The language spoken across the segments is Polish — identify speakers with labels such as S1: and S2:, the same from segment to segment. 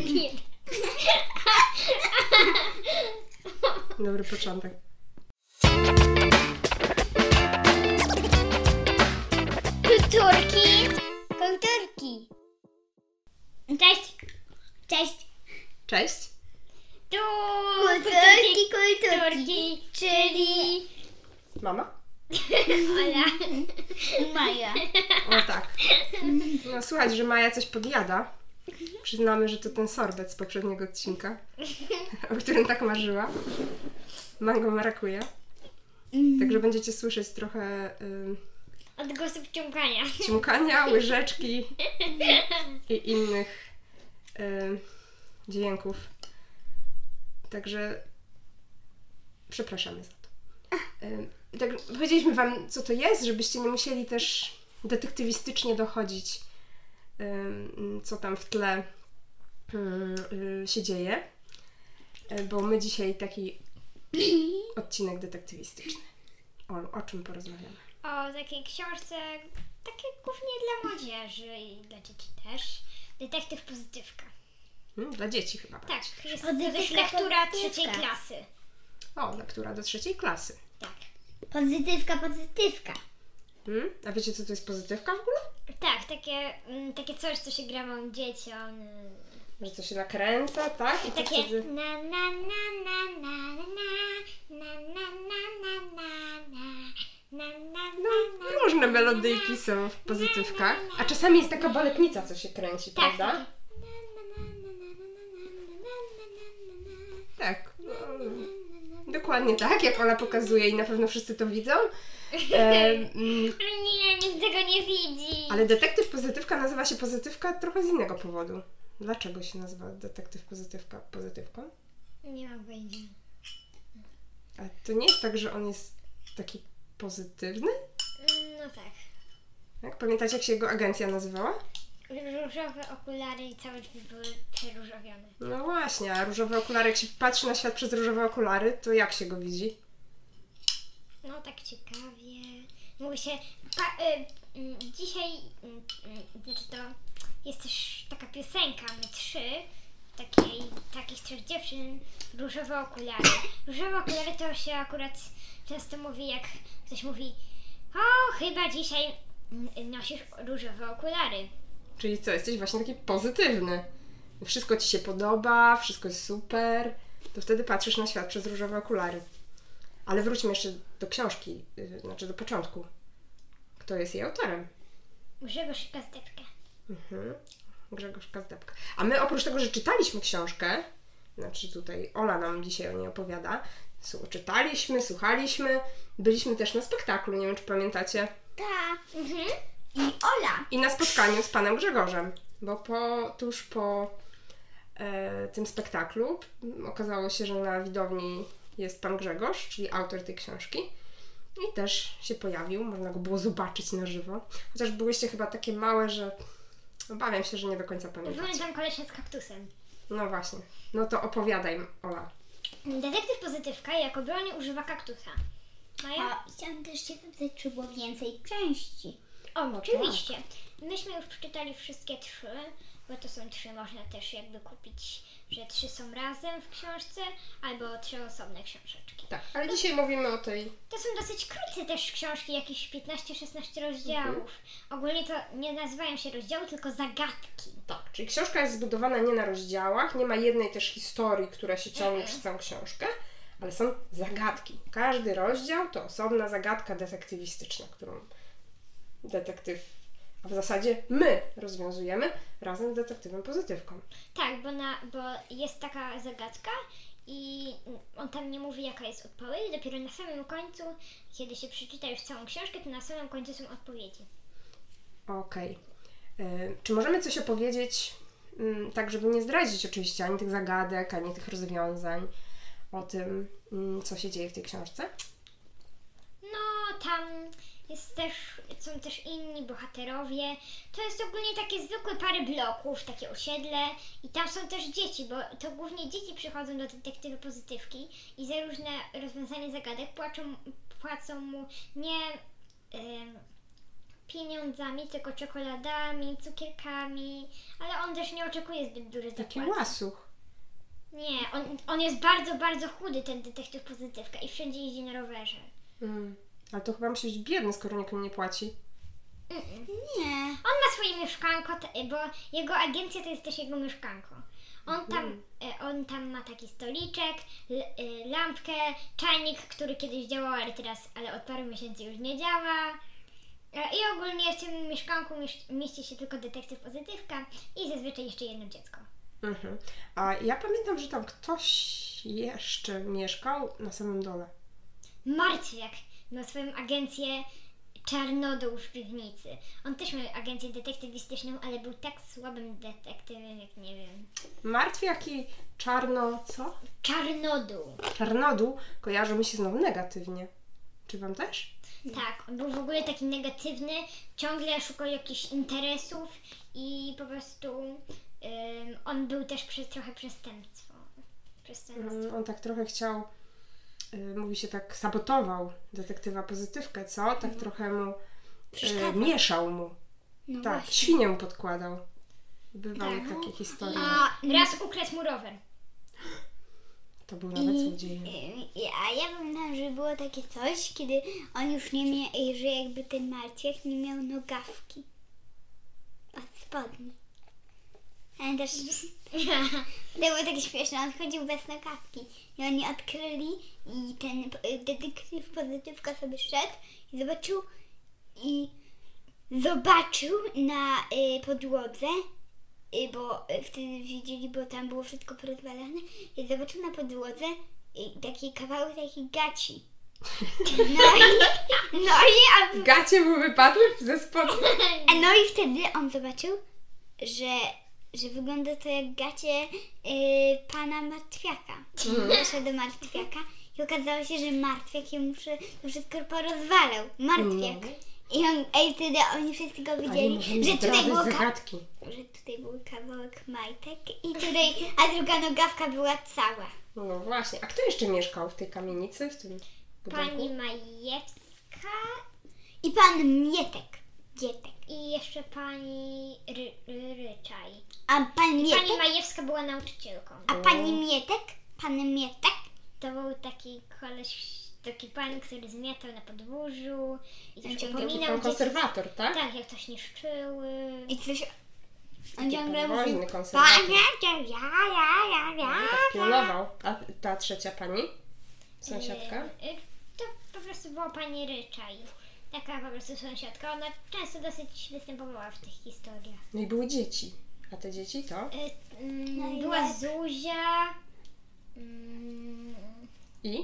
S1: Nie.
S2: Dobry początek.
S1: Kulturki. Kulturki. Cześć. Cześć.
S2: Cześć.
S1: Tu
S3: Kulturki, kulturki.
S1: kulturki, czyli
S2: Mama?
S1: Ola.
S3: Maja.
S2: No tak. No słuchać, że Maja coś podjada. Przyznamy, że to ten sorbet z poprzedniego odcinka, o którym tak marzyła. Mango marakuje. Także będziecie słyszeć trochę y,
S1: Od głosu wciągania.
S2: ciumkania, łyżeczki i innych y, dźwięków. Także przepraszamy za to. Ym, I tak powiedzieliśmy Wam, co to jest, żebyście nie musieli też detektywistycznie dochodzić, ym, co tam w tle ym, y, się dzieje, Y, bo my dzisiaj taki odcinek detektywistyczny. O, o czym porozmawiamy?
S1: O takiej książce, takie głównie dla młodzieży i dla dzieci też. Detektyw Pozytywka.
S2: Mm, Dla dzieci chyba.
S1: Tak, to jest
S3: Pozytywka
S1: lektura
S3: pozytywka.
S1: trzeciej klasy.
S2: O, lektura do trzeciej klasy.
S1: Tak.
S3: Pozytywka, pozytywka.
S2: Mm? A wiecie, co to jest pozytywka w ogóle?
S1: Tak, takie, mm, takie coś, co się gra małym dzieciom. y,
S2: Że to się nakręca, tak? I to
S1: Takie
S2: wtedy...
S1: na na na na na na na na na na na na na na
S2: No,
S1: na na
S2: różne
S1: mm,
S2: melodyjki są w pozytywkach. A czasami jest taka baletnica, co się kręci,
S1: Tak,
S2: prawda?
S1: takie.
S2: Tak. No, dokładnie tak, jak Ola pokazuje i na pewno wszyscy to widzą. E, mm,
S1: Ale nie, nikt tego nie widzi.
S2: ale detektyw pozytywka nazywa się pozytywka trochę z innego powodu. Dlaczego się nazywa detektyw pozytywka pozytywką?
S1: Nie mam pojęcia.
S2: A to nie jest tak, że on jest taki pozytywny?
S1: No tak.
S2: Tak? Pamiętacie, jak się jego agencja nazywała?
S1: Różowe okulary i całe drzwi były przeróżowione.
S2: No właśnie, a różowy okular, jak się patrzy na świat przez różowe okulary, to jak się go widzi?
S1: No tak ciekawie. Mówi się. Pa, y, mm, dzisiaj mm, mm, znaczy to jest też taka piosenka My trzy takiej, takich trzech dziewczyn różowe okulary. Różowe okulary to się akurat często mówi jak ktoś mówi O, chyba dzisiaj mm, nosisz różowe okulary.
S2: Czyli co, jesteś właśnie taki pozytywny. Wszystko ci się podoba, wszystko jest super, to wtedy patrzysz na świat przez różowe okulary. Ale wróćmy jeszcze do książki, yy, znaczy do początku. Kto jest jej autorem?
S1: Grzegorz Kazdeczka.
S2: Mhm. Grzegorz Kazdepka. A my oprócz tego, że czytaliśmy książkę, znaczy tutaj Ola nam dzisiaj o niej opowiada, su- czytaliśmy, słuchaliśmy, byliśmy też na spektaklu, nie wiem czy pamiętacie.
S3: Ta.
S1: Mhm.
S3: I Ola.
S2: I na spotkaniu z panem Grzegorzem, bo po, tuż po e, tym spektaklu m, okazało się, że na widowni jest pan Grzegorz, czyli autor tej książki. I też się pojawił, można go było zobaczyć na żywo. Chociaż byłyście chyba takie małe, że obawiam się, że nie do końca pamiętacie.
S1: Pamiętam kolesia z kaktusem.
S2: No właśnie. No to opowiadaj, Ola.
S1: Detektyw Pozytywka jako broni używa kaktusa. No Maja?
S3: A chciałam też się zapytać, czy było więcej części.
S1: O, oczywiście. Myśmy już przeczytali wszystkie trzy, bo to są trzy, można też jakby kupić, że trzy są razem w książce, albo trzy osobne książeczki.
S2: Tak, ale dzisiaj mówimy o tej...
S1: To są dosyć krótkie też książki, jakieś 15-16 rozdziałów. Ogólnie to nie nazywają się rozdziały, tylko zagadki.
S2: Tak, czyli książka jest zbudowana nie na rozdziałach, nie ma jednej też historii, która się ciągnie przez całą książkę, ale są zagadki. Każdy rozdział to osobna zagadka detektywistyczna, którą detektyw, a w zasadzie my rozwiązujemy razem z detektywem pozytywką.
S1: Tak, bo, na, bo jest taka zagadka i on tam nie mówi jaka jest odpowiedź, dopiero na samym końcu, kiedy się przeczyta już całą książkę, to na samym końcu są odpowiedzi.
S2: Okej. Y, Czy możemy coś opowiedzieć, mm, tak żeby nie zdradzić oczywiście ani tych zagadek, ani tych rozwiązań, o tym, mm, co się dzieje w tej książce?
S1: No, tam jest też, są też inni bohaterowie. To jest ogólnie takie zwykłe pary bloków, takie osiedle. I tam są też dzieci, bo to głównie dzieci przychodzą do detektywy pozytywki i za różne rozwiązanie zagadek płaczą, płacą mu nie. em, pieniądzami, tylko czekoladami, cukierkami, ale on też nie oczekuje zbyt dużych
S2: Taki
S1: zapłat.
S2: łasuch.
S1: Nie, on, on jest bardzo, bardzo chudy, ten detektyw pozytywka i wszędzie jeździ na rowerze.
S2: Mm. Ale to chyba musi być biedny, skoro nikt mu nie płaci.
S1: Mm-mm.
S3: Nie.
S1: On ma swoje mieszkanko, t- bo jego agencja to jest też jego mieszkanko. On tam, e, on tam ma taki stoliczek, l- e, lampkę, czajnik, który kiedyś działał, ale teraz, ale od paru miesięcy już nie działa. E, I ogólnie w tym mieszkanku miesz- mieści się tylko detektyw pozytywka i zazwyczaj jeszcze jedno dziecko.
S2: Mhm. A ja pamiętam, że tam ktoś jeszcze mieszkał na samym dole.
S1: Martwiak miał swoją agencję Czarnodół w piwnicy. On też miał agencję detektywistyczną, ale był tak słabym detektywem, jak nie wiem.
S2: Martwy jaki czarno... co?
S1: Czarnodół.
S2: Czarnodół kojarzy mi się znowu negatywnie. Czy wam też?
S1: Tak, on był w ogóle taki negatywny, ciągle szukał jakichś interesów i po prostu ym, on był też przez trochę przestępstwo. Przestępstwo.
S2: Mm, On tak trochę chciał... y, Mówi się tak, sabotował detektywa pozytywkę, co? Tak trochę mu... Y,
S1: Przeszkadzał.
S2: mieszał mu.
S3: No
S2: Tak,
S3: właśnie.
S2: świnię mu podkładał. Bywały
S1: Tak.
S2: takie historie.
S1: A raz ukradł mu rower.
S2: To był nawet
S3: I-
S2: złodziej.
S3: I- A ja pamiętam, że było takie coś, kiedy on już nie miał, że jakby ten Marciek nie miał nogawki od spodni. Pamiętasz? To było takie śmieszne, on chodził bez nogawki i oni odkryli i ten y, detektyw pozytywka sobie szedł i zobaczył i zobaczył na y, podłodze, y, bo y, wtedy widzieli, bo tam było wszystko porozwalane i zobaczył na podłodze y, taki kawałek takiej gaci. No i, no i, on,
S2: Gacie mu wypadły ze spodni.
S3: a no i wtedy on zobaczył, że, że wygląda to jak gacie y, pana martwiaka. Poszedł do martwiaka i okazało się, że martwiak jemu wszy- to wszystko porozwalał. Martwiak. I on, ej, wtedy oni wszyscy go widzieli, że tutaj, było ka-
S2: zagadki.
S3: że tutaj był kawałek majtek i tutaj, a druga nogawka była cała.
S2: No właśnie. A kto jeszcze mieszkał w tej kamienicy? W tym budynku?
S1: Pani Majewska
S3: I pan Mietek. Mietek.
S1: i jeszcze pani Ry- Ry- Ryczaj.
S3: A pan
S1: Pani
S3: Mietek?
S1: Majewska była nauczycielką.
S3: A pani Mietek? Pan Mietek?
S1: To był taki koleś, taki pan, który zmiatał na podwórzu i też
S2: Taki
S1: upominał
S2: pan
S1: dzieci.
S2: konserwator, tak?
S1: Tak, jak coś niszczyły.
S3: I coś... On ciągle mówi,
S2: Wolny konserwator.
S3: panie,
S1: tak,
S3: ja, ja, ja,
S1: No,
S3: ja.
S2: Tak pilnował. A ta trzecia pani? Sąsiadka?
S1: Y, y, To po prostu była pani Ryczaj. Taka po prostu sąsiadka. Ona często dosyć występowała w tych historiach.
S2: No i były dzieci. A te dzieci to?
S1: Y, mm,
S3: No i
S1: była
S3: jak?
S1: Zuzia, mm,
S2: I?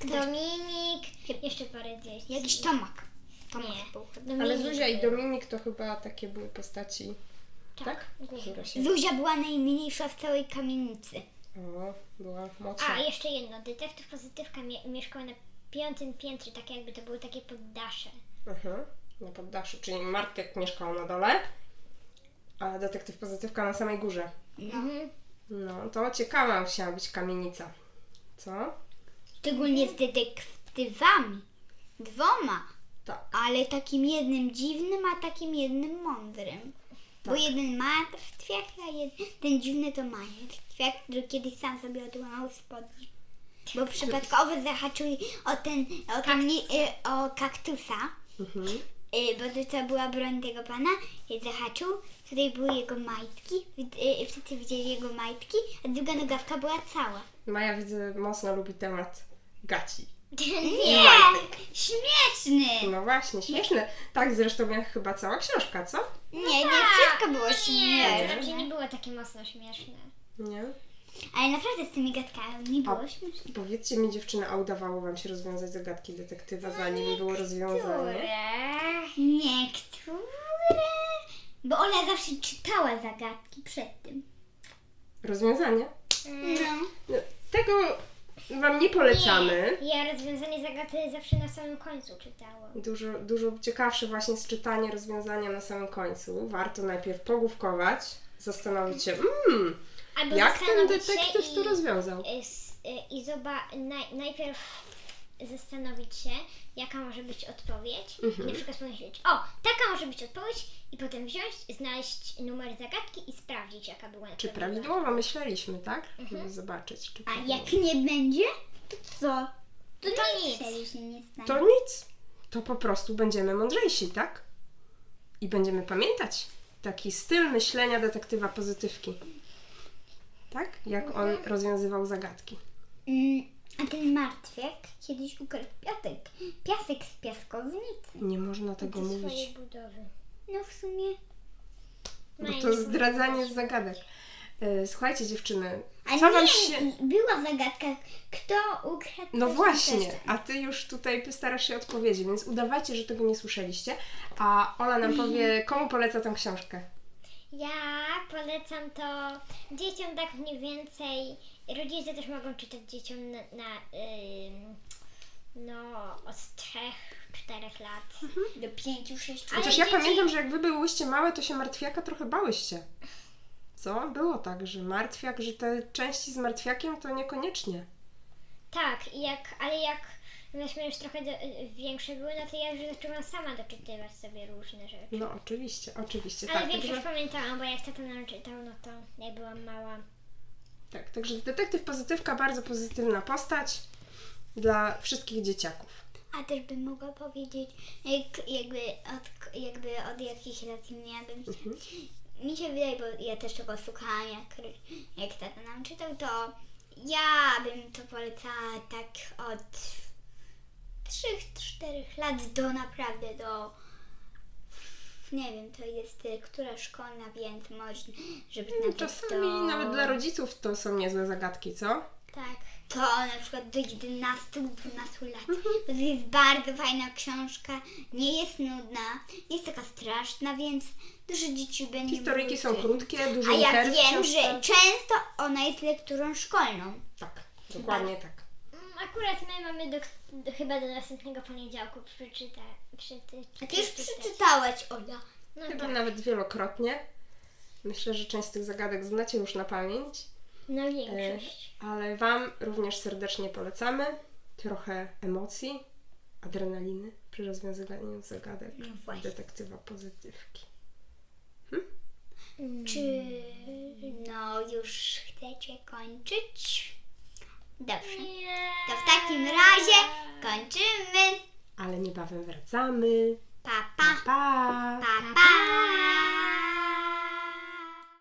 S1: Dominik, jeszcze parę dzieci.
S3: Jakiś Tomak.
S1: Nie.
S3: Tomak był chyba.
S1: Dominik
S2: Ale Zuzia i
S1: był.
S2: Dominik to chyba takie były postaci, tak? Które się...
S3: Zuzia była najmniejsza w całej kamienicy.
S2: O, była mocna.
S1: A, jeszcze jedno. Detektyw Pozytywka mie- mieszkał na piątym piętrze, tak jakby to były takie poddasze.
S2: Mhm, na poddaszu, czyli Martek mieszkał na dole, a detektyw pozytywka na samej górze.
S1: Mhm.
S2: No, to ciekawa musiała być kamienica. Co?
S3: Szczególnie z detektywami. Dwoma.
S2: Tak.
S3: Ale takim jednym dziwnym, a takim jednym mądrym. Bo
S2: Tak.
S3: jeden martwiak, a jeden ten dziwny to martwiak, który kiedyś sam sobie odłamał spodnie. Bo przypadkowo zahaczył o ten, o, ten, y, o kaktusa.
S2: Mhm.
S3: Y, bo to co była broń tego pana, y, zahaczył, tutaj były jego majtki, y, y, wszyscy widzieli jego majtki, a druga nogawka była cała.
S2: Maja widzę mocno lubi temat gaci.
S3: Nie! Śmieszny!
S2: No właśnie, śmieszne. Tak zresztą jak chyba cała książka, co?
S3: Nie,
S2: tak,
S3: nie wszystko
S2: no
S3: było
S1: Nie, to
S3: śmieszne.
S1: znaczy nie było takie mocno śmieszne.
S2: Nie?
S3: Ale naprawdę z tymi gadkami
S2: A-
S3: było śmieszne.
S2: Powiedzcie mi dziewczyny, a udawało wam się rozwiązać zagadki detektywa zanim było rozwiązanie?
S3: Niektóre... Bo Ola zawsze czytała zagadki przed tym.
S2: Rozwiązanie?
S1: Mm,
S3: No.
S2: No, tego wam nie polecamy.
S1: Nie, ja rozwiązanie zagadki zawsze na samym końcu czytałam.
S2: Dużo, dużo ciekawsze właśnie jest czytanie rozwiązania na samym końcu. Warto najpierw pogłówkować, zastanowić się, mmm,
S1: Albo
S2: jak ten
S1: zastanowić się
S2: detektyw
S1: i,
S2: to rozwiązał.
S1: y, s- y, I zoba, naj, najpierw zastanowić się, jaka może być odpowiedź.
S2: Mhm.
S1: I na przykład pomyśleć, o, taka może być odpowiedź i potem wziąć, znaleźć numer zagadki i sprawdzić, jaka była
S2: Czy
S1: odpowiedź.
S2: prawidłowo myśleliśmy, tak? Żeby zobaczyć, czy
S3: A
S2: prawidłowo.
S3: jak nie będzie, to co?
S1: To, to nic.
S3: Wtedy się nie stanie.
S2: To nic. To po prostu będziemy mądrzejsi, tak? I będziemy pamiętać taki styl myślenia detektywa pozytywki. Tak? Jak on rozwiązywał zagadki.
S3: Mm, a ten martwiak kiedyś ukradł piasek. Piasek z piaskownicy.
S2: Nie można tego
S1: Do swojej
S2: mówić,
S1: budowy.
S3: No w sumie.
S2: bo
S1: Maja
S2: to
S1: nie
S2: zdradzanie z zagadek. E, Słuchajcie dziewczyny,
S3: A
S2: co
S3: nie,
S2: wam się...
S3: i była zagadka, kto ukradł
S2: No
S3: coś
S2: właśnie,
S3: też. tak.
S2: a ty już tutaj starasz się odpowiedzi, więc udawajcie, że tego nie słyszeliście, a Ola nam
S3: Mhm.
S2: powie, komu poleca tą książkę.
S1: Ja polecam to dzieciom tak mniej więcej. Rodzice też mogą czytać dzieciom na, na ym, no od 3-4 lat.
S3: Do pięciu, sześciu.
S1: Ale
S2: Chociaż ja
S1: dzieci-
S2: pamiętam, że jak wy byłyście małe, to się martwiaka trochę bałyście. Co? Było tak, że martwiak, że te części z martwiakiem to niekoniecznie.
S1: Tak, i jak, ale jak myśmy już trochę do, y, większe były, no to ja już zaczęłam sama doczytywać sobie różne rzeczy.
S2: No oczywiście, oczywiście,
S1: Ale
S2: tak.
S1: większość
S2: Także,
S1: pamiętałam, bo jak tata nam czytał, no to jak byłam mała.
S2: tak, także detektyw pozytywka, bardzo pozytywna postać dla wszystkich dzieciaków.
S3: A też bym mogła powiedzieć, jak, jakby, od, jakby od jakich lat ja bym się...
S2: Mhm.
S3: Mi się wydaje, bo ja też tego słuchałam, jak, jak tata nam czytał, to ja bym to polecała tak od 3-4 lat do naprawdę do... Nie wiem, to jest y, która szkolna, więc można, żeby nawet
S2: Mm, No, Czasami
S3: do...
S2: nawet dla rodziców to są niezłe zagadki, co?
S1: Tak.
S3: To na przykład do 11-12 lat. To jest bardzo fajna książka, nie jest nudna, nie jest taka straszna, więc dużo dzieci będzie.
S2: Historyjki są
S3: krótkie.
S2: krótkie, dużo
S3: A ja
S2: liter w
S3: wiem,
S2: książce.
S3: że często ona jest lekturą szkolną.
S2: Tak, dokładnie tak.
S1: Mm, Akurat my mamy do, do, chyba do następnego poniedziałku przeczyta, przeczytać.
S3: A ty już
S1: tak,
S3: przeczytałaś, Ola.
S1: No
S2: Chyba
S1: tak.
S2: nawet wielokrotnie. Myślę, że część z tych zagadek znacie już na pamięć.
S1: No
S3: Tak
S2: E,
S1: większość.
S2: Ale Wam również serdecznie polecamy. Trochę emocji, adrenaliny przy rozwiązywaniu zagadek
S3: No właśnie.
S2: detektywa pozytywki.
S3: Czy no już chcecie kończyć? Dobrze.
S1: Nie.
S3: To w takim razie kończymy.
S2: Ale niebawem wracamy.
S3: Pa,
S2: Pa! pa.
S3: pa, pa. pa.